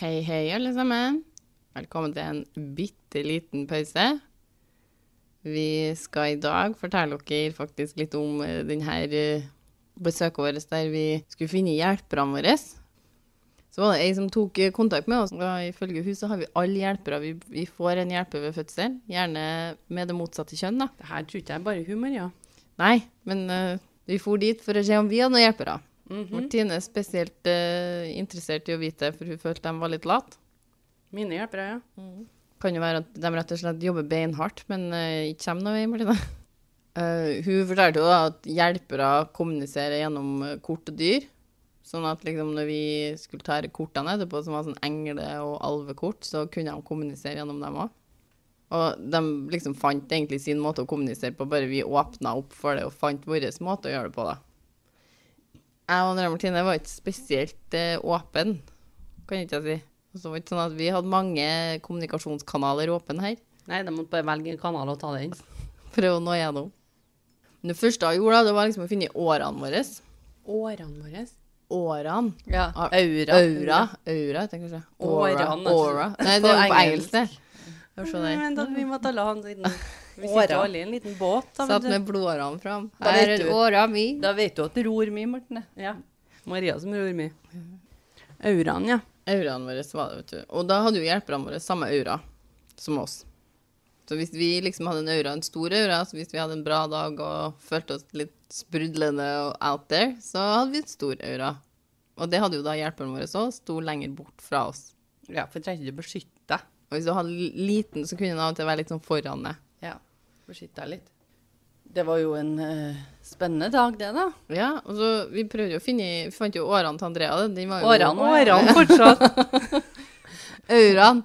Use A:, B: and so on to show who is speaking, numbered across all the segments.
A: Hei, hei, alle sammen. Velkommen til en bitte liten pause. Vi skal i dag fortelle dere faktisk litt om eh, den her eh, besøket vårt der vi skulle finne hjelperne våre. Så var det ei som tok eh, kontakt med oss. Og ifølge hun så har vi alle hjelpere. Vi, vi får en hjelper ved fødsel, gjerne med det motsatte kjønn, da.
B: Det her tror ikke jeg er bare humor, ja.
A: Nei, men eh, vi for dit for å se om vi hadde noen hjelpere. Martine er spesielt eh, interessert i å vite det, for hun følte de var litt late.
B: Mine hjelpere, ja.
A: Kan jo være at de rett og slett jobber beinhardt, men eh, ikke kommer noe vei, Martine. Eh, hun fortalte jo da at hjelpere kommuniserer gjennom eh, kort og dyr. Sånn at liksom når vi skulle ta her kortene etterpå, som var sånn engle- og alvekort, så kunne de kommunisere gjennom dem òg. Og de liksom fant egentlig sin måte å kommunisere på, bare vi åpna opp for det og fant vår måte å gjøre det på, da. Jeg og Andrea Martine var ikke spesielt eh, åpen, kan ikke jeg si. Altså, det var ikke sånn at vi hadde mange kommunikasjonskanaler åpne her
B: Nei, de måtte bare velge en kanal og ta den.
A: for å nå gjennom. Men det første jeg gjorde, da, det var liksom å finne årene våre.
B: Årene våre.
A: Årene.
B: Ja.
A: Ah,
B: Aura.
A: Aura. Aura, heter det kanskje. Aura.
B: Årene, altså.
A: Aura. Nei, det
B: På
A: er jo på
B: engelsk.
A: engelsk,
B: Mm,
A: det. Hør så
B: Nei,
A: der.
B: Vent, da, vi må ta la han siden. Vi sitter jo alle i en liten båt. Da,
A: Satt
B: vet
A: med blodårene fram.
B: Da vet
A: Her er
B: du.
A: åra mi.
B: du. da vet du at det ror mye, Morten. Ja. Maria som ror mye. Auraen, ja.
A: Auraen vår var det, vet du. Og da hadde jo hjelperne våre samme aura som oss. Så hvis vi liksom hadde en aura, en stor aura, så hvis vi hadde en bra dag og følte oss litt sprudlende og out there, så hadde vi en stor aura. Og det hadde jo da hjelperne våre òg, sto lenger bort fra oss.
B: Ja, for trengte du å beskytte deg.
A: Og hvis du hadde li- liten, så kunne den av og til være litt sånn foran deg.
B: Ja, beskytte deg litt. Det var jo en eh, spennende dag, det da.
A: Ja, og så vi prøvde jo å finne Vi fant jo årene til Andrea. da. Den var jo
B: Årene, årene fortsatt.
A: Auraen.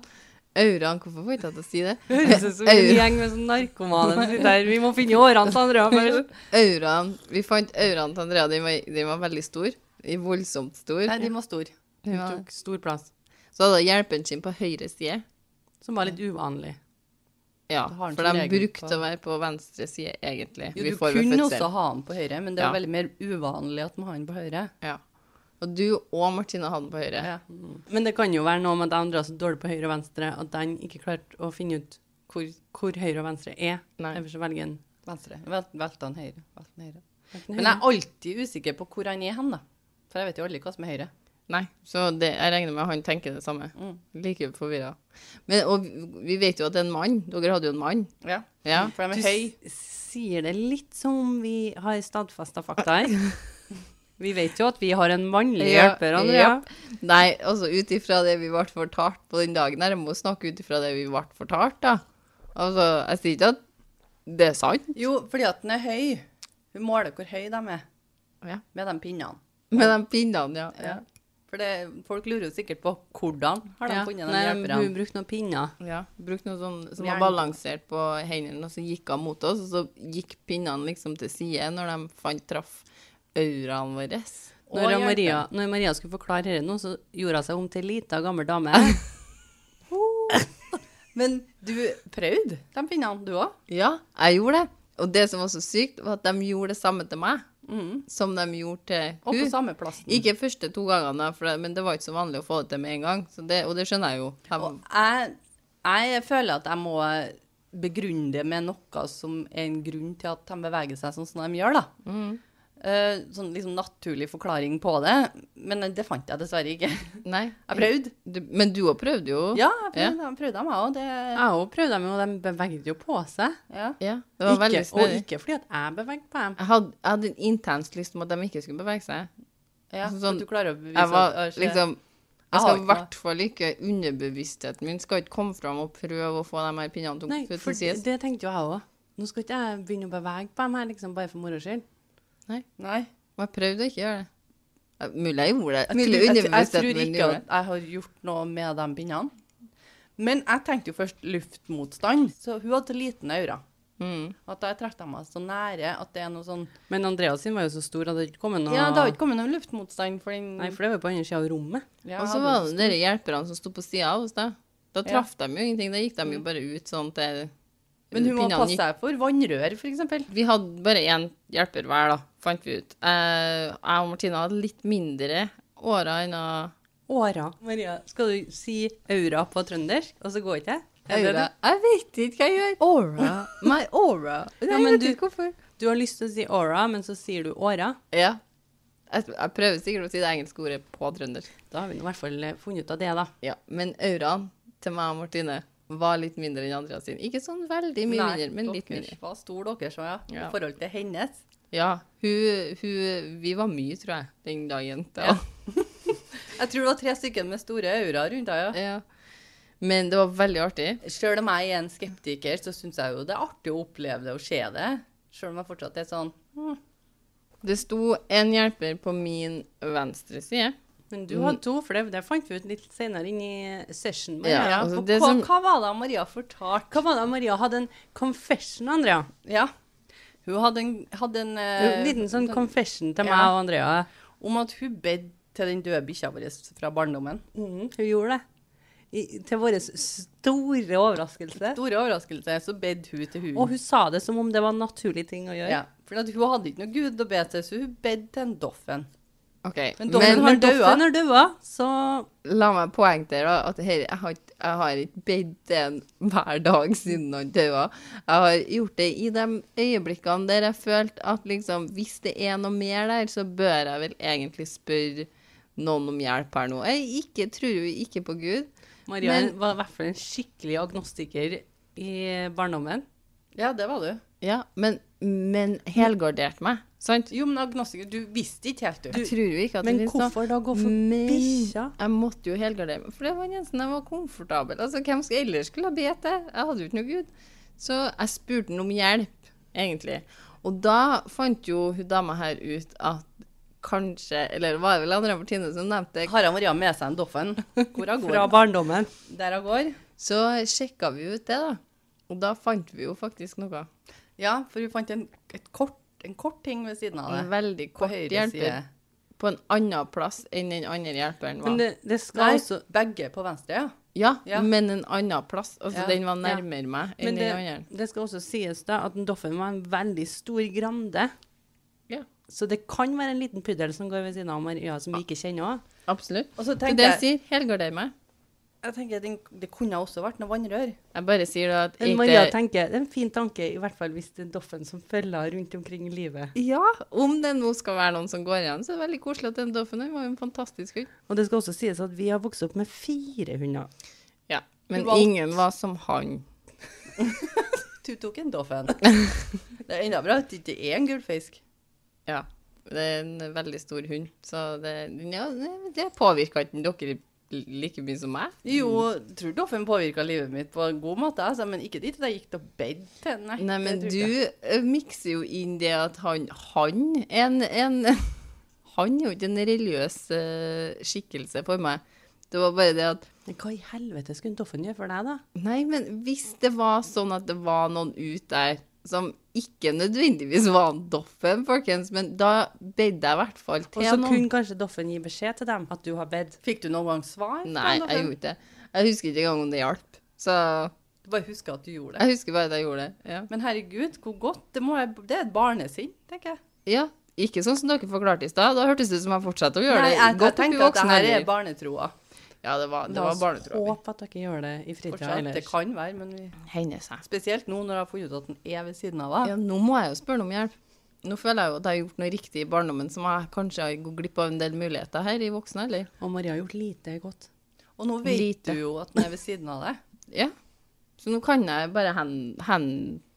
A: Auraen. Hvorfor får jeg ikke jeg til å si det?
B: Høres ut som en gjeng med sånn narkomane som sitter her. Vi må finne årene til Andrea først.
A: Auraen Vi fant auraen til Andrea. Den var, den var veldig stor. I voldsomt stor.
B: Nei, de var stor.
A: Den
B: De
A: var-
B: tok stor plass.
A: Så hadde hun hjelpen sin på høyre side.
B: Som var litt uvanlig.
A: Ja,
B: Da har han
A: for
B: som
A: de
B: regel
A: brukte
B: på-
A: å være på venstre side, egentlig.
B: Jo,
A: Vi
B: du
A: får ved
B: kunne
A: fødsel.
B: også ha den på høyre, men det er
A: Ja.
B: veldig mer uvanlig at man har den på høyre.
A: Ja. Og du og Martine hadde den på høyre.
B: Mm. Men det kan jo være noe med at Andrea er så dårlig på høyre og venstre at den ikke klarte å finne ut hvor, hvor høyre og venstre er.
A: Nei.
B: Derfor så velger han
C: Venstre. Vel- Velte han høyre. Velte han høyre.
B: den
C: Men jeg
B: høyre.
C: er alltid usikker på hvor han er hen, da. For jeg vet jo aldri hva som er høyre.
A: Nei, så det, jeg regner med han tenker det samme.
B: Mm.
A: Like forvirra. Men, og vi- vi vet jo at det er en mann. Dere hadde jo en mann.
C: Ja.
A: Ja.
C: For de
B: Du
C: er høy.
B: s- sier det litt som om vi har stadfesta fakta her. Vi vet jo at vi har en mannlig
A: Ja,
B: hjelper, Andrea.
A: ja. Nei, altså ut ifra det vi ble fortalt på den dagen her, jeg må snakke ut ifra det vi ble fortalt, da. Altså, jeg sier ikke at det er sant.
C: Jo, fordi at den er høy. Hun måler hvor høy de er
A: Ja.
C: med de pinnene. Eh,
A: Med de pinnene, ja. ja.
C: For det, folk lurer jo sikkert på hvordan har de
B: Ja.
C: funnet de
B: Nei, Hun
C: hjelperne.
B: brukte noen pinner.
A: Ja, brukte noe sånn som
C: Jern.
A: var balansert på hendene, og så gikk han mot oss, og så gikk pinnene liksom til side når de fant, traff auraen vår.
C: Og
B: Når,
C: hjelper.
B: Maria, når Maria skulle forklare dette nå, så gjorde hun seg om til ei lita, gammel dame.
C: Men du prøvde de pinnene, du òg?
A: Ja, jeg gjorde det. Og det som var så sykt, var at de gjorde det samme til meg som de gjorde
C: Og
A: til
C: på
A: hun.
C: samme plassen.
A: Ikke første to gangene, da, for det, men det var ikke så vanlig å få det til med en gang. Så det, og det skjønner jeg jo. Jeg,
C: Og jeg, jeg føler at jeg må begrunne det med noe som er en grunn til at de beveger seg sånn som de gjør, da.
A: Mm.
C: Eh, sånn liksom naturlig forklaring på det, men det fant jeg dessverre ikke. Jeg
A: nei.
C: prøvde.
A: Du, men du òg prøvde jo.
C: Ja, jeg prøvde, jeg prøvde meg òg. Det,
B: Jeg òg prøvde dem, og de bevegde jo på seg.
C: ja.
A: Ja, det var
B: Ikke,
A: veldig
B: og
A: snedig.
B: ikke fordi at jeg bevegde på dem.
A: Jeg hadde, jeg hadde en intens lyst om at de ikke skulle bevege seg.
C: Ja,
A: Sånn-
C: sånn, du klarer å bevise
A: Jeg var
C: at-
A: liksom Jeg
C: Jeg
A: skal
C: har
A: i
C: ikke noe.
A: hvert fall ikke underbevisstheten min skal ikke komme fram og prøve å få de her pinnene til
B: Nei,
A: å sånn.
B: for
A: sies.
B: det tenkte jo jeg òg. Nå skal ikke jeg begynne å bevege på dem her, liksom, bare for moro skyld.
C: Nei.
A: Og jeg prøvde å ikke gjøre det. Jeg- Mulig jeg gjorde det.
C: Jeg,
A: Mulig
C: tror- jeg, jeg, jeg
A: underbevisstheten
C: tror
A: min
C: ikke
A: gjorde det.
C: at jeg har gjort noe med de pinnene. Men jeg tenkte jo først luftmotstand, så hun hadde så liten aura.
A: Mm.
C: At jeg trakk meg så nære at det er noe sånn
B: Men Andreas sin var jo så stor, hadde ikke kommet noe
C: Ja, det har ikke kommet noen luftmotstand for den
B: Nei, for det var jo på andre sida av rommet.
C: Ja,
A: Og så var
C: hadde-
A: det de hjelperne som sto på sida av oss, da. Da
C: Ja. Mm.
A: traff de jo ingenting. Da gikk de jo bare ut sånn til
C: Men hun må
A: pinnene
C: passe
A: gikk-
C: seg for vannrør, for eksempel.
A: Vi hadde bare én hjelper hver, da, fant vi ut. Eh, Jeg og Martina hadde litt mindre åra enn
B: Åra. Maria, skal du si aura på trøndersk, og så går ikke jeg? Er det det?
C: Jeg vet ikke hva jeg gjør. Aura. My aura.
B: Ja,
C: Nei, jeg vet
B: men du-
C: ikke hvorfor.
B: Du har lyst til å si aura, men så sier du åra.
A: Ja. Jeg, jeg prøver sikkert å si det engelske ordet på trøndersk.
B: Da har vi nå i hvert fall eh, funnet ut av det, da.
A: Ja, men auraen til meg og Martine var litt mindre enn Andrea sin. Ikke sånn veldig mye
C: Nei,
A: mindre, men litt
C: dere
A: mindre.
C: var stor dere så, ja.
A: Ja.
C: I forhold til hennes.
A: Ja, hun, hun Vi var mye, tror jeg, den dagen. Da.
C: Jeg tror det var tre stykker med store aura rundt deg, ja.
A: Ja. Men det var veldig artig.
C: Selv om jeg er en skeptiker, så syns jeg jo det er artig å oppleve det og se det. Selv om jeg fortsatt er sånn
A: Det sto en hjelper på min venstre side.
B: Men du hadde to, for det, det fant vi ut litt senere inn i session. Maria.
A: Ja, altså,
C: og
A: det
C: hva,
A: som-
C: hva var det Maria fortalte?
B: Hva var det Maria hadde en confession, Andrea?
C: Ja. Hun hadde en, hadde en eh,
B: En liten sånn confession til
C: ja.
B: meg og Andrea.
C: om at hun bedde til den døde bikkja vår fra barndommen.
B: Mhm, hun gjorde det. I, til vår store overraskelse.
C: Store overraskelse, så bedde hun til hun.
B: Og hun sa det som om det var en naturlig ting å gjøre.
C: ja, for at hun hadde ikke noe gud å be til, så hun bedde til en doffen.
A: OK.
C: Men
A: Men,
C: dommen har
B: Men
C: døde.
B: Doffen er døde, så
A: la meg poengtere da, at her, jeg, har, ikke- jeg har ikke bedt den hver dag siden han døde. Jeg har gjort det i de øyeblikkene der jeg følte at liksom, hvis det er noe mer der, så bør jeg vel egentlig spørre noen om hjelp her nå. Jeg ikke, tror jo ikke på Gud.
B: Maria
A: Men-
B: var i hvert fall en skikkelig agnostiker i barndommen.
C: Ja, det var du.
A: Ja, men, men helgarderte meg, sant?
C: Jo, men agnostiker, du visste ikke helt, du.
A: Jeg tror jo ikke at
B: Men
A: det finnes noe.
B: hvorfor da gå for
A: Men
B: bikkja?
A: jeg måtte jo helgardere meg, for det var den eneste jeg var komfortabel. Altså, hvem skal ellers skulle jeg be til? Jeg hadde jo ikke noe gud. Så jeg spurte han om hjelp, egentlig. Og da fant jo hun dama her ut at kanskje, eller var det vel Andrea Martine som nevnte,
C: Har han Maria med seg en doffen? Hvor hun
B: Fra
C: går?
B: barndommen.
C: Der hun går?
A: så sjekka vi ut det, da. Og da fant vi jo faktisk noe.
C: Ja, for hun fant en, et kort, en kort ting ved siden av det.
A: En veldig
C: På
A: kort
C: høyre
A: hjelper
C: side.
A: på en annen plass enn den andre hjelperen var.
B: Men det,
C: Nei,
B: det skal også
C: begge på venstre, ja.
A: ja,
C: ja.
A: men en annen plass. Altså,
C: Ja,
A: den var
B: ja.
A: nærmere meg enn
B: Men det,
A: den andre.
B: det skal også sies da at en Doffen var en veldig stor grande.
A: Ja.
B: Så det kan være en liten puddel som går ved siden av Maria, som vi ikke kjenner òg.
A: Absolutt.
C: Og så
A: Det er
C: tenkte
A: det jeg
C: jeg,
A: sier. Helgarder meg.
C: jeg tenker, den, det kunne også vært noe vannrør.
A: Jeg bare sier da at
B: Men
A: ikke-
B: Maria tenker, det er en fin tanke, i hvert fall hvis det er Doffen som følger rundt omkring i livet.
A: Ja, om det nå skal være noen som går igjen, så er det veldig koselig at den Doffen han var jo en fantastisk hund.
B: Og det skal også sies at vi har vokst opp med fire hunder.
A: Ja, Men
C: Du valgte-
A: ingen var som han.
C: Du tok en doffen. det er enda bra at det ikke er en gullfisk.
A: Ja. Det er en veldig stor hund, så det, ja, det- det påvirka ikke dere like mye som meg.
C: Jo, jeg tror doffen påvirket livet mitt på en god måte, altså, men ikke dit at jeg gikk til bed til. Nei,
A: Nei, men
C: det tror jeg ikke.
A: du eh, mikser jo inn det at han Han er en, en Han er jo ikke en religiøs eh, skikkelse for meg. Det var bare det at
B: Men hva i helvete skulle en Doffen gjøre for deg, da?
A: Nei, men hvis det var sånn at det var noen ut der som ikke nødvendigvis var en doffen, folkens, men da bedde jeg i hvert fall
B: Og
A: til
B: så
A: noen.
B: kunne kanskje Doffen gi beskjed til dem at du har bedt.
C: Fikk du noen gang svar? fra
A: Nei, jeg
C: en doffen?
A: gjorde ikke det. Jeg husker ikke engang om det hjalp. Så
C: Du bare husker at du gjorde det.
A: jeg husker bare at jeg gjorde det. Ja.
C: Men herregud, hvor godt. Det, må jeg, det er et barnesinn, tenker jeg.
A: ja. Ikke sånn som dere forklarte i stad. Da hørtes det ut som jeg fortsatte å gjøre
C: Nei,
A: det.
C: jeg, jeg,
A: Godt oppi
C: tenker at det
A: voksen
C: her
A: alder.
C: er barnetroa.
A: Ja, det var, det var
B: La
A: barnetroa.
B: oss håpe at dere gjør det i fritida
C: Fortsatt, det
B: ellers.
C: kan være, men vi...
A: Hender seg.
C: Spesielt nå når jeg har funnet ut at den er ved siden av deg.
A: Ja, nå må jeg jo spørre noe om hjelp. Nå føler jeg jo at jeg har gjort noe riktig i barndommen som jeg kanskje har gått glipp av en del muligheter her i voksen alder.
B: Og Maria har gjort lite godt.
C: Og nå vet
A: Lite.
C: du jo at den er ved siden av deg.
A: Ja. Så nå kan jeg bare hen,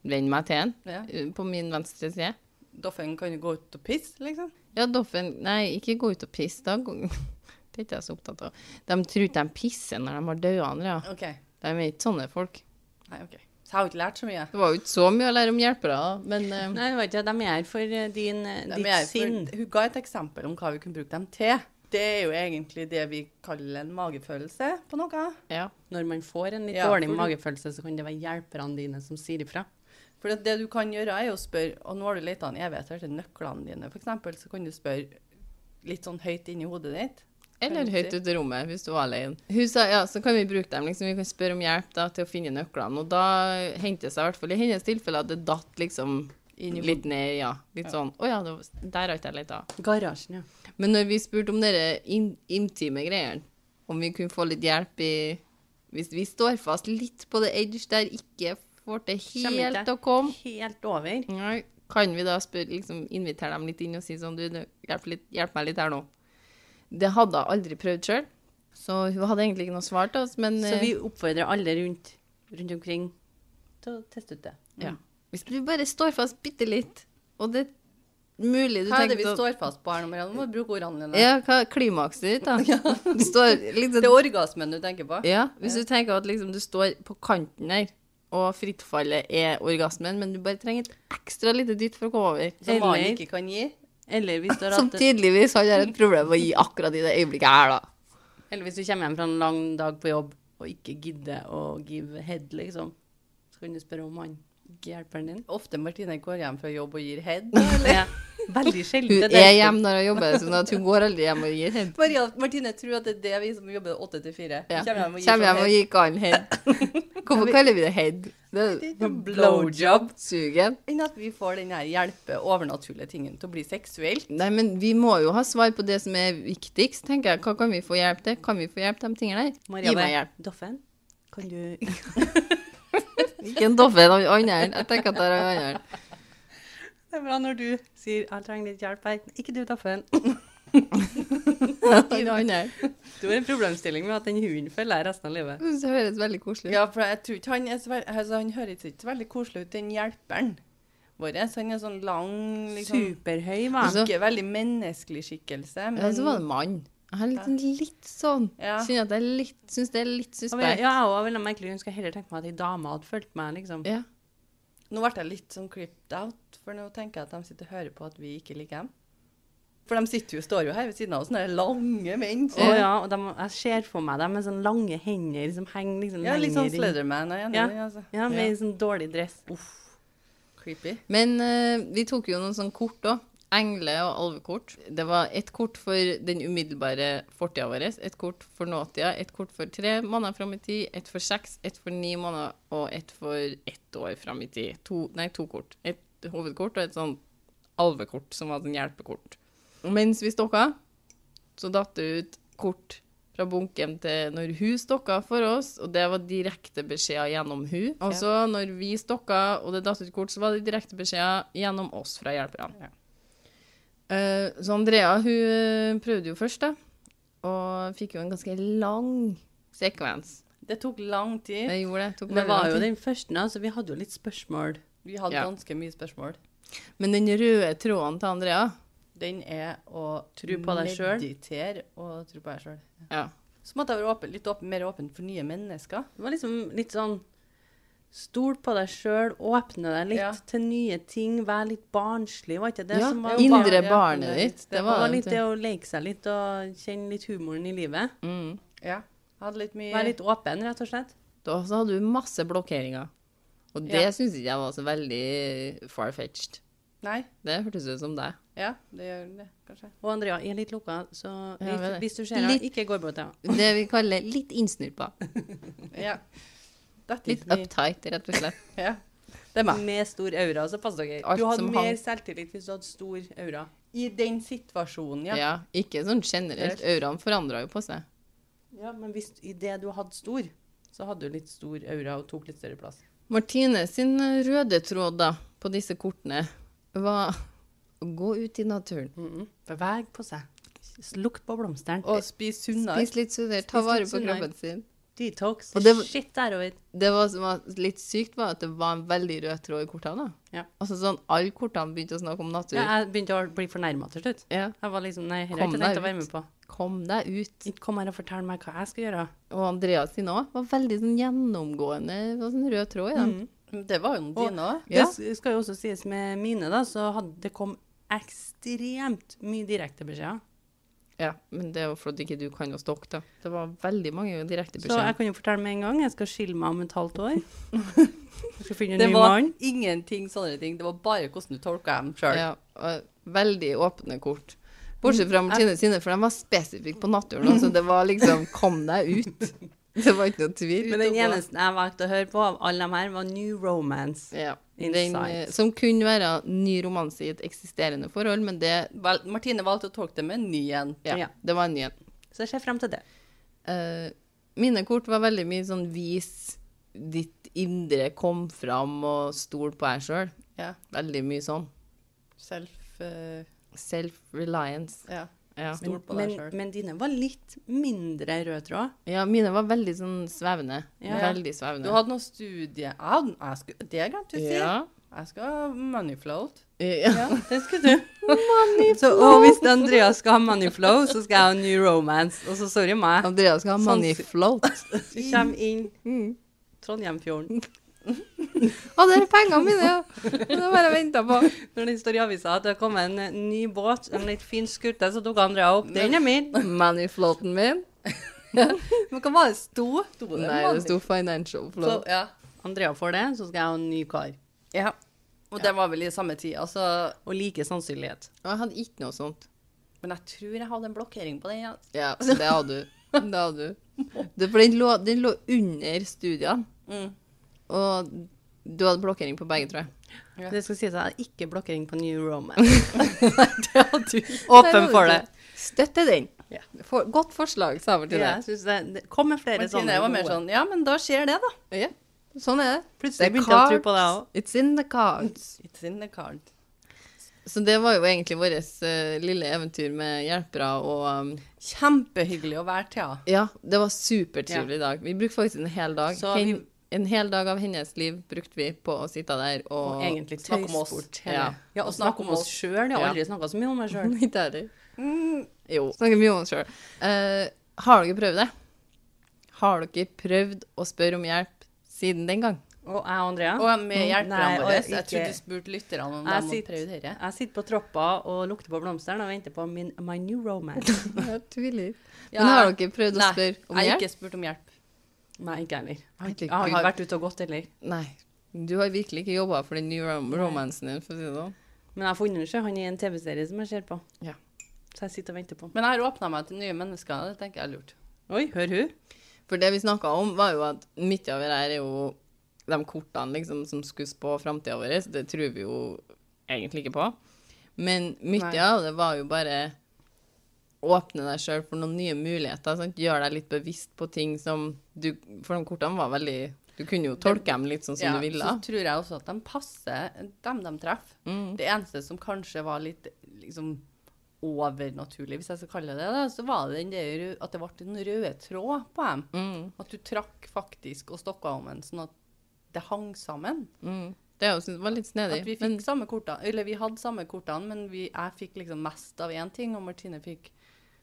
A: henvende meg til en
C: Ja.
A: eh, på min venstre side.
C: Doffen kan jo gå ut og pisse, liksom.
A: Ja, Doffen Nei, ikke gå ut og pisse. Da. gå- Det er ikke jeg så opptatt av. De tror ikke de pisser når de har døde andre. Ja.
C: OK.
A: De er ikke sånne folk.
C: Nei, ok. Så jeg har ikke lært så mye.
A: Det var jo ikke så mye å lære om hjelpere, da, men
C: Mm.
A: eh,
B: Nei, vet ikke, de er her for eh, din,
C: Nei,
B: eh, ditt
C: men jeg- for-
B: sinn.
C: Hun ga et eksempel om hva vi kunne bruke dem til. Det er jo egentlig det vi kaller en magefølelse på noe.
A: ja.
B: Når man får en litt
C: Ja,
B: dårlig
C: for du-
B: magefølelse, så kan det være hjelperne dine som sier ifra.
C: For det- det du kan gjøre, er jo å spørre Og nå har du leita en evighet etter nøklene dine, f.eks., så kan du spørre litt sånn høyt inni hodet ditt.
A: Eller
C: Veldig.
A: høyt ute i rommet hvis du var alene. Hun sa ja, så kan vi bruke dem. Liksom, vi kan spørre om hjelp da, til å finne nøklene. Og da hendte det seg i hvert fall i hennes tilfelle at det datt liksom
C: Inn i
A: litt ned. Ja, litt sånn Å ja, det var, der har ikke jeg lett av.
B: Garasjen, ja.
A: Men når vi spurte om dere in intime greiene, Om vi kunne få litt hjelp i Hvis vi står fast litt på the edge der, ikke får til
B: Kommer
A: helt
B: ikke
A: å komme
B: Helt over.
A: Nei, kan vi da spørre, liksom, invitere dem litt inn og si sånn, du, du, hjelp, litt, hjelp meg litt her nå. Det hadde hun aldri prøvd sjøl, så hun hadde egentlig ikke noe svar til oss. Men
B: Så
A: eh,
B: vi oppfordrer alle rundt, rundt omkring til å teste ut det.
A: eh, ja. hvis du bare står fast bitte litt, og det er mulig du
C: Hva er det vi
A: tenkte å-
C: står fast på her nå, Marianne? Du må bruke ordene dine.
A: Ja, hva er klimakset ditt, da? Du står litt
C: Det
A: sånn
C: er orgasmen du tenker på.
A: Ja, hvis du tenker at liksom, du står på kanten her, og frittfallet er orgasmen, men du bare trenger et ekstra lite dytt for å komme over.
C: Som man
B: Eller-
C: ikke kan gi.
B: Eller hvis du har
A: Som
B: hatt
A: tydeligvis han har et problem med å gi akkurat i det øyeblikket her, da.
B: Eller hvis du kommer hjem fra en lang dag på jobb og ikke gidder å give head, liksom. Så kan du spørre om han hjelperen din.
C: Ofte Martine går hjem fra jobb og gir head.
B: Ja, veldig sjelden.
A: Hun
B: det
A: er
B: derfor.
A: hjemme når hun jobber, sånn at hun går aldri hjem og gir head.
C: Maria, Martine tror at det er det vi som jobber åtte til fire.
A: Ja.
C: Kommer hjem og gir
A: Kommer hjem
C: sånn
A: og
C: head.
A: gir kallen head. Hvorfor kaller vi det head? Det er
C: Det er en blowjob.
A: sugen.
C: Enn at vi får den her hjelpe overnaturlige tingen til å bli seksuell.
A: Nei, men vi må jo ha svar på det som er viktigst, tenker jeg. Hva kan vi få hjelp til? Kan vi få hjelp til de tingene der?
B: Maria
A: Gi meg
B: bare,
A: hjelp.
B: Doffen, kan du
A: Ikke en doffe, en annen. Jeg tenker at det er en annen.
B: Det er bra når du sier 'jeg trenger litt hjelp her'. Ikke du, Doffen.
A: En annen.
B: Du har en problemstilling med at den hunden følger deg resten av livet.
A: Jeg synes det høres veldig koselig ut.
C: Ja, for jeg tror ikke han er så veldig, altså, han høres ikke så veldig koselig ut, den hjelperen vår. Så han er sånn lang, liksom.
B: Superhøy, hva?
A: Altså-
C: Ikke veldig menneskelig skikkelse, men
A: Ja, Eh, så var det mann. Jeg er litt, litt sånn.
C: Ja.
A: Synes at det er litt, synes det er litt
B: Ja, men jeg-
A: suspekt.
B: ja, jeg også veldig merkelig. Hun skulle heller tenkt meg at ei dame hadde fulgt meg, liksom.
A: Ja.
C: Nå ble jeg litt sånn creeped out, for nå tenker jeg at de sitter og hører på at vi ikke liker dem. For de sitter jo, står jo her ved siden av oss, sånne lange menn.
B: Å ja, og de, jeg ser for meg dem med sånne lange hender som henger liksom
C: Ja, litt sånn
B: lenger inn.
C: Slenderman. Jeg er enig
B: Ja.
C: i det, altså.
B: Ja, med
C: Ja.
B: en sånn dårlig dress.
C: Creepy.
A: Men eh, vi tok jo noen sånne kort òg. Engle- og alvekort. Det var ett kort for den umiddelbare fortida vår, ett kort for nåtida, ett kort for tre måneder fram i tid, ett for seks, ett for ni måneder og ett for ett år fram i tid. To, nei, to kort. Et hovedkort og et sånn alvekort, som var sånn hjelpekort. Og Mens vi stokka, så datt det ut kort fra bunken til når hun stokka for oss, og det var direkte beskjeder gjennom hun. Og så når vi stokka, og det datt ut kort, så var det direkte beskjeder gjennom oss fra hjelperne.
C: Ja.
A: Eh, så Andrea, hun prøvde jo først, da, og fikk jo en ganske lang sekvens.
C: Det tok lang tid.
A: Det gjorde det. Tok
B: Det
A: veldig
B: var
A: lang
B: jo
A: tid.
B: den første, da, så vi hadde jo litt spørsmål.
C: Vi hadde
A: Ja.
C: ganske mye spørsmål.
A: Men den røde tråden til Andrea
C: Den er å
B: Tro på deg selv.
C: meditere og tro på deg sjøl.
A: ja.
C: Så måtte jeg være åpen, litt åpen, mer åpen for nye mennesker.
B: Det var liksom litt sånn Stol på deg sjøl, åpne deg litt
C: Ja.
B: til nye ting, vær litt barnslig, var ikke det
A: ja,
B: som var
A: Indre
C: barn- ja,
A: barnet
C: det-
A: ditt. Det
B: Det
A: var, sånn-
B: var litt det å leke seg litt og kjenne litt humoren i livet.
A: Mm.
C: Ja. Hadde litt mye
B: Være litt åpen, rett og slett.
A: Da så hadde du masse blokkeringer. Og det
C: Ja.
A: synes syns ikke jeg var så veldig far-fetched.
C: Nei.
A: Det hørtes ut som deg.
C: Ja, det gjør det, kanskje.
B: Og Andrea er litt lukka, så
A: Ja,
B: hvis,
A: veldig.
B: hvis du ser henne,
A: Litt-
B: ikke gå bort til henne.
A: Det vi kaller litt innsnurpa.
C: Ja. Dette
A: Litt
C: er litt
A: uptight, rett og slett.
C: Ja. Det er meg.
B: Med stor aura, så passer dere.
A: Alt
B: Du hadde
A: som
B: mer
A: hang.
B: selvtillit hvis du hadde stor aura.
C: I den situasjonen,
A: Ja.
C: ja.
A: ikke sånn generelt. Auraen forandra jo på seg.
B: Ja, men hvis i det du hadde stor, så hadde du litt stor aura og tok litt større plass.
A: Martine sin eh, røde tråd da, på disse kortene var å gå ut i naturen.
B: Beveg på seg. S- Lukt på blomsteren.
C: Og spise sunnere.
A: Spis litt sunnere, ta
B: Spis
A: vare
B: litt
A: på
B: sunnere.
A: kroppen sin.
B: Detox.
A: Og det var-
B: Shit derover.
A: Det var, som var litt sykt, var at det var en veldig rød tråd i kortene. da.
B: Ja.
A: Altså sånn, Alle kortene begynte å snakke om natur.
B: Ja, jeg begynte å bli fornærma til slutt.
A: Ja.
B: Jeg var liksom, nei, dette har jeg
A: Kom
B: ikke tenkt
A: deg
B: å
A: ut.
B: være med på.
A: Kom deg ut.
B: Ikke kom her og fortell meg hva jeg skal gjøre.
A: og Andreas sin òg, var veldig sånn gjennomgående det var sånn rød tråd i den.
B: Mm.
C: Det var jo
B: Og-
C: dine òg.
A: Ja.
B: Det s- skal jo også sies med mine, da, så hadde, det kom ekstremt mye direktebeskjeder.
A: Ja, men det er jo fordi ikke du kan å stokke, da. Det var veldig mange direkte
B: Så jeg
A: beskjeder.
B: kan jo fortelle med en gang, jeg skal skille meg om et halvt år. Jeg skal finne en
C: Det
B: ny
C: var
B: mann.
C: ingenting sånne ting. Det var bare hvordan du tolka dem sjøl.
A: Ja, og veldig åpne kort. Bortsett fra
B: Mm,
A: Martine sine, for de var spesifikke på naturen. Altså, det var liksom Kom deg ut! Det var ikke noe tvil.
B: Men den eneste jeg valgte å høre på av alle de her, var New Romance.
A: ja, den,
B: Insight.
A: eh, som kunne være ny romanse i et eksisterende forhold, men det,
C: Vel, Martine valgte å tolke det med en ny en.
A: ja,
B: Ja.
A: det var en ny en.
B: Så jeg ser frem til det.
A: Eh, mine kort var veldig mye sånn vis ditt indre kom fram og stol på deg sjøl.
B: Ja.
A: Veldig mye sånn.
B: Self eh,
A: Self-reliance.
B: Ja.
A: Ja.
B: Stol på deg
C: men,
B: selv.
C: men dine var litt mindre rød tråd.
A: ja, mine var veldig sånn svevende.
B: Ja.
A: Veldig svevende.
B: Du hadde noen studie... Jeg hadde, jeg skulle, det glemte du å si.
A: ja.
B: Jeg skal moneyfloat.
A: Ja.
B: Ja, det skal du. så, og hvis Andreas skal ha moneyflow, så skal jeg ha new romance. Og så sorry meg.
A: Andreas skal ha
B: Sånn-
A: money float.
B: Du kommer inn
A: Mm.
B: Trondheimfjorden.
A: Å, det er pengene mine, ja! Det har jeg bare venta på.
B: Når det står i avisa at det har kommet en eh, ny båt, en litt fin skurte, så tok Andrea opp. Den er min.
A: Money floaten min.
B: Men hva var det sto? sto det
A: Nei, det sto financial
B: Så,
A: float.
B: ja. Andrea får det, så skal jeg ha en ny kar.
A: Ja.
B: Og det var vel i samme tid. Altså, og like sannsynlighet.
A: Og jeg hadde ikke noe sånt.
B: Men jeg tror jeg hadde en blokkering på den. Ja.
A: Ja, det hadde du. Det hadde du. Det, for den lå, den lå under studiene.
B: Mm.
A: Og du hadde blokkering på begge, tror jeg.
B: Det skal sies at jeg hadde ikke blokkering på New Romance. det hadde du.
A: Der
B: Åpen
A: hadde
B: for
A: du
B: det.
A: Støtte den.
B: Ja.
A: For, godt forslag, sa jeg til
B: Ja,
A: deg.
B: jeg synes det, det kom med flere
C: Martine
B: sånne.
C: var mer
B: gode.
C: sånn Ja, men da skjer det, da.
A: Ja. Sånn er det.
B: Plutselig
A: The
B: begynte jeg å tro på deg
A: cards.
B: òg.
A: It's in the cards.
B: It's in the card.
A: Så det var jo egentlig vårt lille eventyr med hjelpere og um,
B: Kjempehyggelig å være Thea.
A: Ja, det var supertrivelig dag. Vi brukte faktisk en hel dag.
B: Så vi-
A: Hen, en hel dag av hennes liv brukte vi på å sitte der og,
B: Og egentlig snakke om oss.
A: tøyse bort
B: hele-
A: hele-
B: ja, og snakke om oss sjøl. Jeg har
A: Ja.
B: aldri snakka så mye om meg sjøl.
A: Ikke heller. Jo. Mm. Snakker mye om oss sjøl. har dere prøvd det? Har dere prøvd å spørre om hjelp siden den gang?
B: Og jeg og Andrea.
C: Og med
A: Mm.
B: Nei,
C: hjelperne
B: og
C: våre.
B: jeg-
C: Jeg
B: ikke-
C: trodde du spurte lytterne om
B: Jeg
C: de må
B: sitter-
C: prioritere.
B: Jeg sitter på troppa og lukter på blomstene og venter på min, my new romance.
A: Jeg tviler.
C: Ja.
A: Men har dere prøvd å
C: Nei,
A: spørre om
C: Jeg har
A: hjelp?
C: ikke spurt om hjelp.
B: Nei, ikke heller. Jeg har ikke- Jeg
A: Ikke-
B: har ikke vært ute og gått heller.
A: Nei. Du har virkelig ikke jobba for den nye rom romansen din, for å si det sånn.
B: Men jeg har funnet ikke han i en TV-serie som jeg ser på.
A: Ja.
B: Så jeg sitter og venter på.
C: Men jeg har åpna meg til nye mennesker. Det tenker jeg er lurt.
B: Oi, hør hun.
A: For det vi snakka om, var jo at mye av det her er jo de kortene liksom, som skulle spå framtida vår. Det tror vi jo egentlig ikke på. Men mye
B: Nei.
A: av det var jo bare åpne deg sjøl for noen nye muligheter. Sant? Gjør deg litt bevisst på ting som du For de kortene var veldig Du kunne jo tolke dem litt sånn som
C: Ja,
A: du ville.
C: så tror jeg også at de passer dem de treffer.
A: Mm.
C: Det eneste som kanskje var litt liksom, overnaturlig, hvis jeg skal kalle det det, så var det den der, at det ble den røde tråd på dem.
A: Mm,
C: At du trakk faktisk og stokka om en, sånn at det hang sammen.
A: mm. Det jeg synes var litt snedig.
C: At vi fikk
A: Men
C: samme kortene, eller vi hadde samme kortene, men vi, jeg fikk liksom mest av én ting, og Martine fikk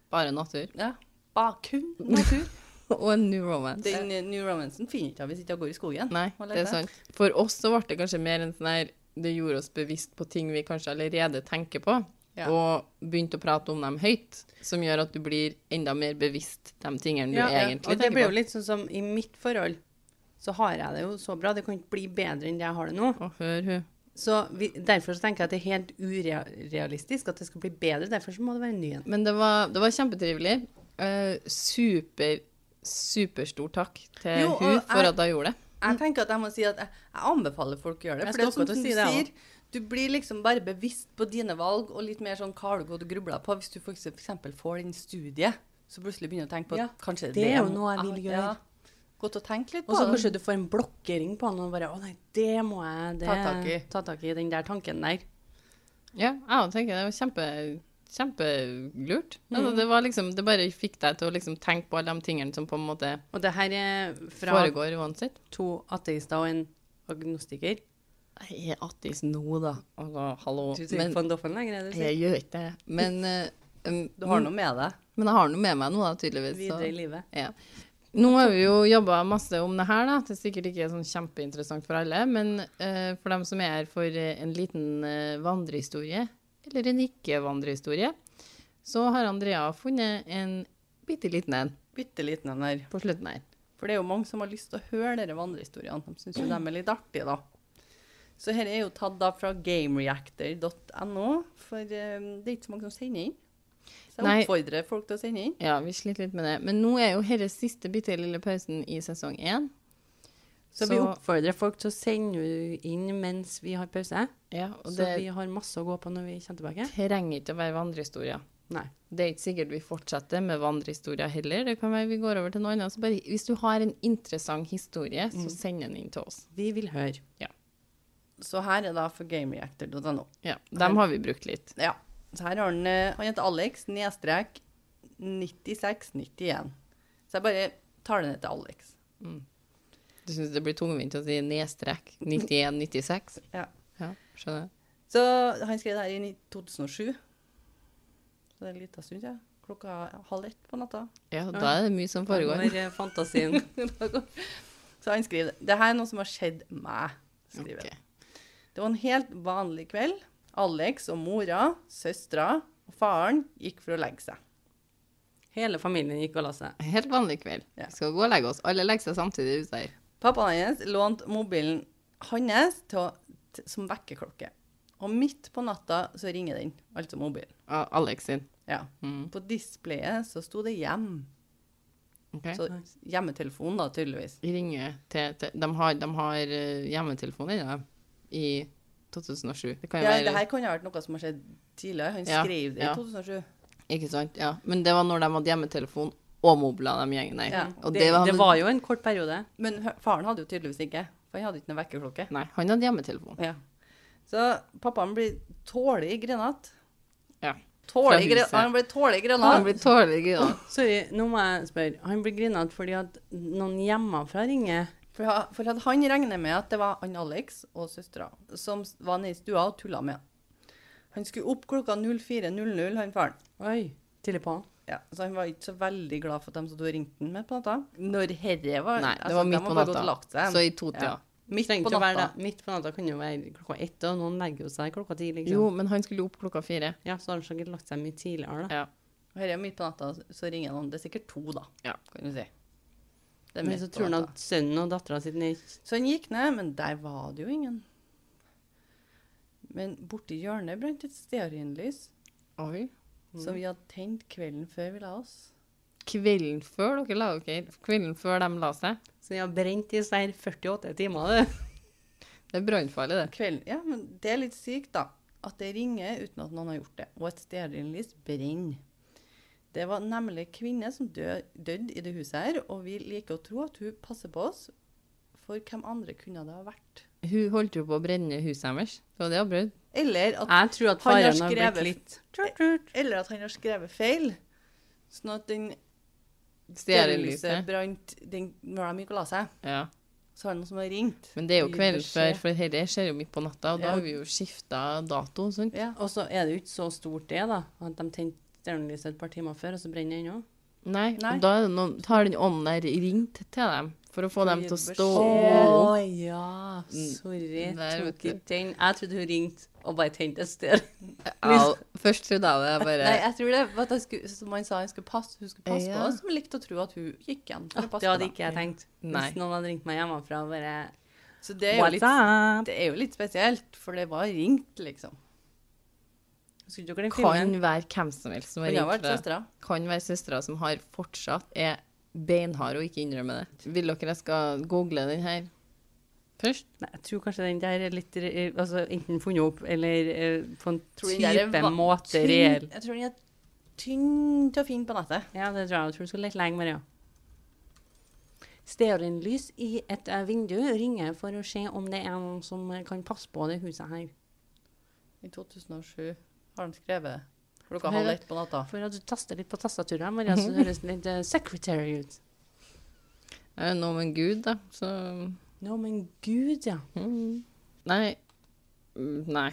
A: bare natur.
C: ja, bare kun natur.
A: Og en new romance.
C: Den eh, New Romancen finner ikke jeg hvis ikke jeg går i skogen.
A: Nei,
C: Hva
A: det er
C: lette?
A: sant. For oss så ble det kanskje mer en sånn her Det gjorde oss bevisst på ting vi kanskje allerede tenker på,
C: Ja.
A: og begynte å prate om dem høyt, som gjør at du blir enda mer bevisst de tingene du
B: Ja, ja.
A: egentlig
B: og det blir
A: tenker
B: jo
A: på.
B: litt sånn som i mitt forhold, så har jeg det jo så bra. Det kan ikke bli bedre enn det jeg har det nå.
A: Å, hør hun.
B: Så vi, derfor så tenker jeg at det er helt urealistisk at det skal bli bedre. Derfor så må det være en ny en.
A: Men det var, det var kjempetrivelig. Eh, super, superstor takk til
C: Jo, og
A: hun for
C: jeg-
A: at hun gjorde det.
C: Jeg tenker at jeg må si at jeg, jeg anbefaler folk å gjøre det.
B: Jeg
C: For det er
B: skal
C: sånn
B: akkurat
C: som du
B: si det, jeg
C: sier, du blir liksom bare bevisst på dine valg, og litt mer sånn hva har du gått og grubla på. Hvis du for ekse- for eksempel får den studiet, så plutselig begynner du å tenke på at
B: Ja,
C: kanskje
B: det er jo
C: må-
B: noe jeg vil
C: Ja,
B: gjøre.
C: Godt å tenke litt på
B: Og så
C: det.
B: kanskje du får en blokkering på han og bare Å nei, det må jeg det,
C: Ta tak i.
B: ta tak i. Den der tanken der.
A: Ja, jeg tenker det var kjempe, kjempelurt.
B: Mm.
A: Altså, det var liksom Det bare fikk deg til å liksom tenke på alle de tingene som på en måte
B: Og det her er fra
A: foregår i hodet sitt.
B: to ateister og en agnostiker.
A: Jeg er ateist nå, da. Altså, hallo.
B: Du sier ikke på en doffen lenger, er det du sier?
A: Jeg gjør ikke det. Men, eh, um,
C: Du har noe med deg.
A: men jeg har noe med meg nå, da, tydeligvis.
B: Videre i
A: Så,
B: livet.
A: ja. Nå har vi jo jobba masse om det her, da. Det er sikkert ikke sånn kjempeinteressant for alle. Men eh, for dem som er her for eh, en liten eh, vandrehistorie, eller en ikke-vandrehistorie, så har Andrea funnet en bitte liten en
C: Bitte liten en her.
A: på slutten her.
C: For det er jo mange som har lyst til å høre dere vandrehistoriene. De syns jo de er litt artige, da. Så her er jo tatt da fra gamereactor.no, for eh, det er ikke så mange som sender inn. Så
A: Nei.
C: jeg oppfordrer folk til å sende inn.
A: Ja, vi sliter litt med det. Men nå er jo dette siste bitte lille pausen i sesong én.
B: Så, vi oppfordrer folk til å sende inn mens vi har pause.
A: ja, og
B: Så
A: det
B: vi har masse å gå på når vi kommer tilbake.
A: trenger ikke å være vandrehistorier.
B: Nei.
A: Det er ikke sikkert vi fortsetter med vandrehistorier heller. Det kan være vi går over til noe annet. Så bare, hvis du har en interessant historie, så send den inn til oss.
B: Vi vil høre.
C: Så her er da for gamereactor.no.
A: Ja, Dem har vi brukt litt.
C: Ja. Så her har han eh, Han heter Alex, nedstrek 9691. Så jeg bare tar det ned til Alex.
A: Du syns det blir tungvint å si nedstrek 91-96?
C: Ja.
A: Ja, skjønner.
C: Så han skrev det her i ni- 2007. Så det er en liten stund siden. Klokka halv ett på natta.
A: Ja, da er det mye som foregår.
B: Når eh, fantasien
C: Så han skriver det her er noe som har skjedd meg. skriver
A: Ok.
C: han. Det var en helt vanlig kveld. Alex og mora, søstera og faren gikk for å legge seg.
B: Hele familien gikk og la seg.
A: Helt vanlig kveld.
C: Ja.
A: Vi skal gå og legge oss. Alle legger seg samtidig ute her.
C: Pappaen hennes lånte mobilen hans til å, t som vekkerklokke. Og midt på natta så ringer den, altså mobilen.
A: Ah, Alex sin. Mm,
C: Ja. På displayet så sto det hjem.
A: Ok?
C: Så hjemmetelefon, da, tydeligvis.
A: Ringe til, til de, har, de har eh, hjemmetelefon i dem i 2007. Det kan jo
C: Ja,
A: være
C: det her kan jo ha vært noe som har skjedd tidligere. Han
A: Ja,
C: skrev det i
A: ja.
C: 2007.
A: Ikke sant? Ja. Men det var når de hadde hjemmetelefon og mobler, de gjengen der.
C: Ja.
A: Og
B: Det,
A: det var,
B: det var jo en kort periode.
C: Men hø- faren hadde jo tydeligvis ikke, for han hadde ikke noen vekkerklokke.
A: Nei, han hadde hjemmetelefon.
C: Ja. Så pappaen blir tålig grenat.
A: Ja.
C: Tålig
A: Fra
C: gre-
A: huset.
C: han blir tålig
A: Han
C: grenat.
A: blir tålig, da.
B: Sorry, nå må jeg spørre. Han blir grinet fordi at noen hjemmefra ringer.
C: For, ha- for at han regner med at det var han Alex og søstera som s- var nede i stua og tulla med han. Han skulle opp klokka 04.00, han faren.
B: Oi, tidlig på.
C: Ja, så han var ikke så veldig glad for at de som hadde ringt han midt på natta. Når herre var
A: Nei,
C: altså,
A: det var
C: de
A: midt
C: har
A: på
C: bare gått
A: natta.
C: og lagt seg.
A: Så i to-tida.
C: Midt
B: Trengte
C: på
B: å være
C: natta.
B: det. Midt på natta kan jo være klokka ett, og noen legger jo seg klokka ti. liksom.
A: Jo, men han skulle opp klokka fire.
B: Ja, så har han sikkert lagt seg mye tidligere, da.
A: Ja.
C: Herre er midt på natta, så ringer han. Det er sikkert to, da,
A: Ja.
C: kan du si. Det er
B: Men
C: midt
B: så
C: på
B: tror han
C: natta.
B: at sønnen og dattera sitt er
C: Så han gikk ned, men der var det jo ingen. Men borti hjørnet brant et stearinlys
A: Oi.
B: Mm.
C: som vi hadde tent kvelden før vi la oss.
A: Kvelden før dere la dere Kvelden før de la seg.
B: Så de har brent i seg 48 timer, du.
A: Det er brannfarlig, det.
C: Kvelden, ja, men Det er litt sykt, da. At det ringer uten at noen har gjort det, og et stearinlys brenner. Det var nemlig en kvinne som dø- døde i det huset her, og vi liker å tro at hun passer på oss. For hvem andre kunne det ha vært?
A: Hun holdt jo på å brenne huset deres. Det var det hun brød.
C: Eller at
B: Jeg tror at
C: Han har
B: faren har blitt
C: skrevet-
B: litt Tjort, tjort.
C: Eller at han har skrevet feil. Sånn at den stearinlyset
A: Stearinlyset.
C: brant den, når de gikk og la seg.
A: Ja.
C: Så er det noen som har ringt.
A: Men det er jo
C: Gi
A: kvelden
C: beskjed.
A: før, for dette skjer jo midt på natta, og da
C: Ja.
A: har vi jo skifta dato. Sant?
C: Ja.
B: Og så er det jo ikke så stort, det, da. At de tente stearinlyset et par timer før, og så brenner det ennå.
A: Nei,
C: Nei.
A: og da er det noen, har den ånden der ringt til dem for å få dem
C: Gi
A: til å
C: beskjed.
A: stå
B: Å ja,
C: mm.
B: sorry.
A: Der, vet
B: Tok
A: du.
B: ikke den. Jeg trodde hun ringte og bare tente et sted.
A: Ja, Først trodde jeg det. Jeg bare
C: Nei, jeg tror det var at jeg skulle, som han sa, jeg skulle passe, hun skulle passe
A: Ja.
C: på oss. Som likte å tro at hun gikk igjen for å
B: Det
C: passe på
B: hadde
C: dem.
B: ikke jeg tenkt.
A: Nei.
B: Hvis noen hadde ringt meg hjemmefra og bare
C: Så det er, jo
B: What's
C: litt,
B: up?
C: det er jo litt spesielt, for det var ringt, liksom.
B: Skulle dere den
A: Kan
B: filmen?
A: være hvem som helst som har
C: Hun har
A: ringt.
C: vært
A: for det.
C: søstera.
A: Kan være søstera som har fortsatt er beinhard og ikke innrømmer det. Vil dere jeg skal google den her først?
B: Nei, jeg tror kanskje den der er litt re- altså, enten funnet opp eller eh, på en
C: Tror den der er
B: type
C: va-
B: måte
C: Tynn-
B: reell.
C: Jeg tror den er tynn til å finne på nettet.
B: Ja, det tror jeg. Jeg tror du skal lete lenge med det, ja. Stearinlys i et eh, vindu ringer for å se om det er noen som eh, kan passe på det huset her.
C: I 2007 har han skrevet det. Klokka
B: Nei,
C: halv
B: det-
C: ett på natta.
B: For at du taster litt på tastaturet, Maria, så høres det litt eh, secretary ut.
A: Er det noe med en gud, da? Så
B: Nå, men gud, ja.
A: mm. Nei. Mm, Nei.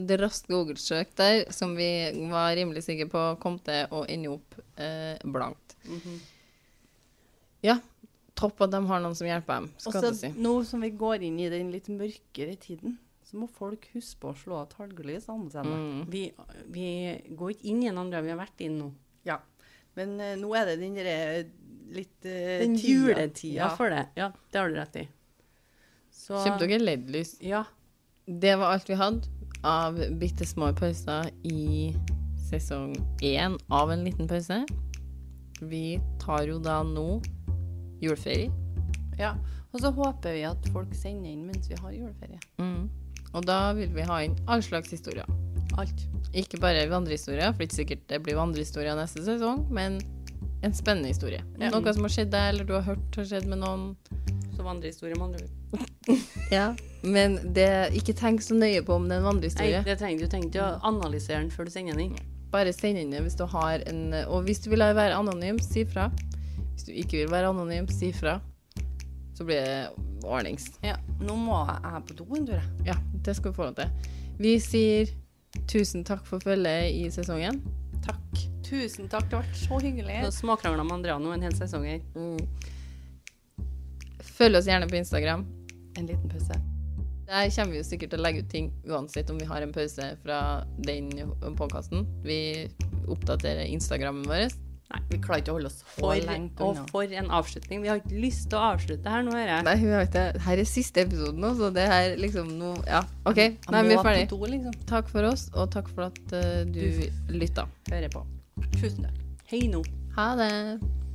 A: Et raskt Google-søk der som vi var rimelig sikre på kom til å ende opp eh, blankt.
C: Mhm.
A: Ja. Topp at de har noen som hjelper dem,
C: Og
A: skal
C: så
A: du si.
C: nå som vi går inn i den litt mørkere tiden, så må folk huske på å slå av talglys andre enden.
A: Mm.
B: Vi, vi går ikke inn i den andre vi har vært inn nå.
C: Ja. Men eh, nå er det den derre litt eh,
B: Den
C: tida.
B: juletida
C: Ja.
B: for det. Ja, det har du rett i. Så
A: Kjøpte dere LED-lys?
B: Ja.
A: Det var alt vi hadde av bitte små pauser i sesong én av en liten pause. Vi tar jo da nå juleferie.
C: Ja. Og så håper vi
A: Mm.
C: at folk sender inn mens vi har juleferie.
A: Og da vil vi ha inn all slags historier.
B: Alt.
A: Ikke bare vandrehistorier, for det er ikke sikkert det blir vandrehistorier neste sesong, men en spennende historie.
B: Ja.
A: Noe som har skjedd deg, eller du har hørt har skjedd med noen.
B: Som andre historier, med andre ord.
A: Men det, ikke tenk så nøye på om det er en
B: Nei,
A: vandrehistorie.
B: det trenger du. Du trenger ikke å analysere den før du sender den inn.
A: Bare send inn det hvis du har en Og hvis du vil være anonym, si fra. Hvis du ikke vil være anonym, si fra. Så blir det ordnings.
C: Ja, nå må jeg på do en tur, jeg.
A: Ja, det skal vi få lov til. Vi sier tusen takk for følget i sesongen.
C: Takk. Tusen takk, det har vært så hyggelig.
B: Nå småkrangler med Andrea nå en hel sesong her.
A: Følg oss gjerne på Instagram.
C: En liten pause.
A: Der kommer vi jo sikkert til å legge ut ting uansett om vi har en pause fra den podkasten. Vi oppdaterer Instagrammen vår.
B: Nei, vi klarer ikke å holde oss for
C: For lenge på
B: Og
C: unna.
B: for en avslutning. Vi har ikke lyst til å avslutte her nå, hører jeg.
A: Nei, vi har ikke det. Her er siste episoden nå, så det her liksom nå Ja, OK.
C: Jeg
A: Nei, vi
C: må
A: er ferdig.
C: på do, liksom.
A: Takk for oss, og takk for at eh, du lytta.
B: Hører på.
C: Tusen takk.
B: Hei nå.
A: Ha det.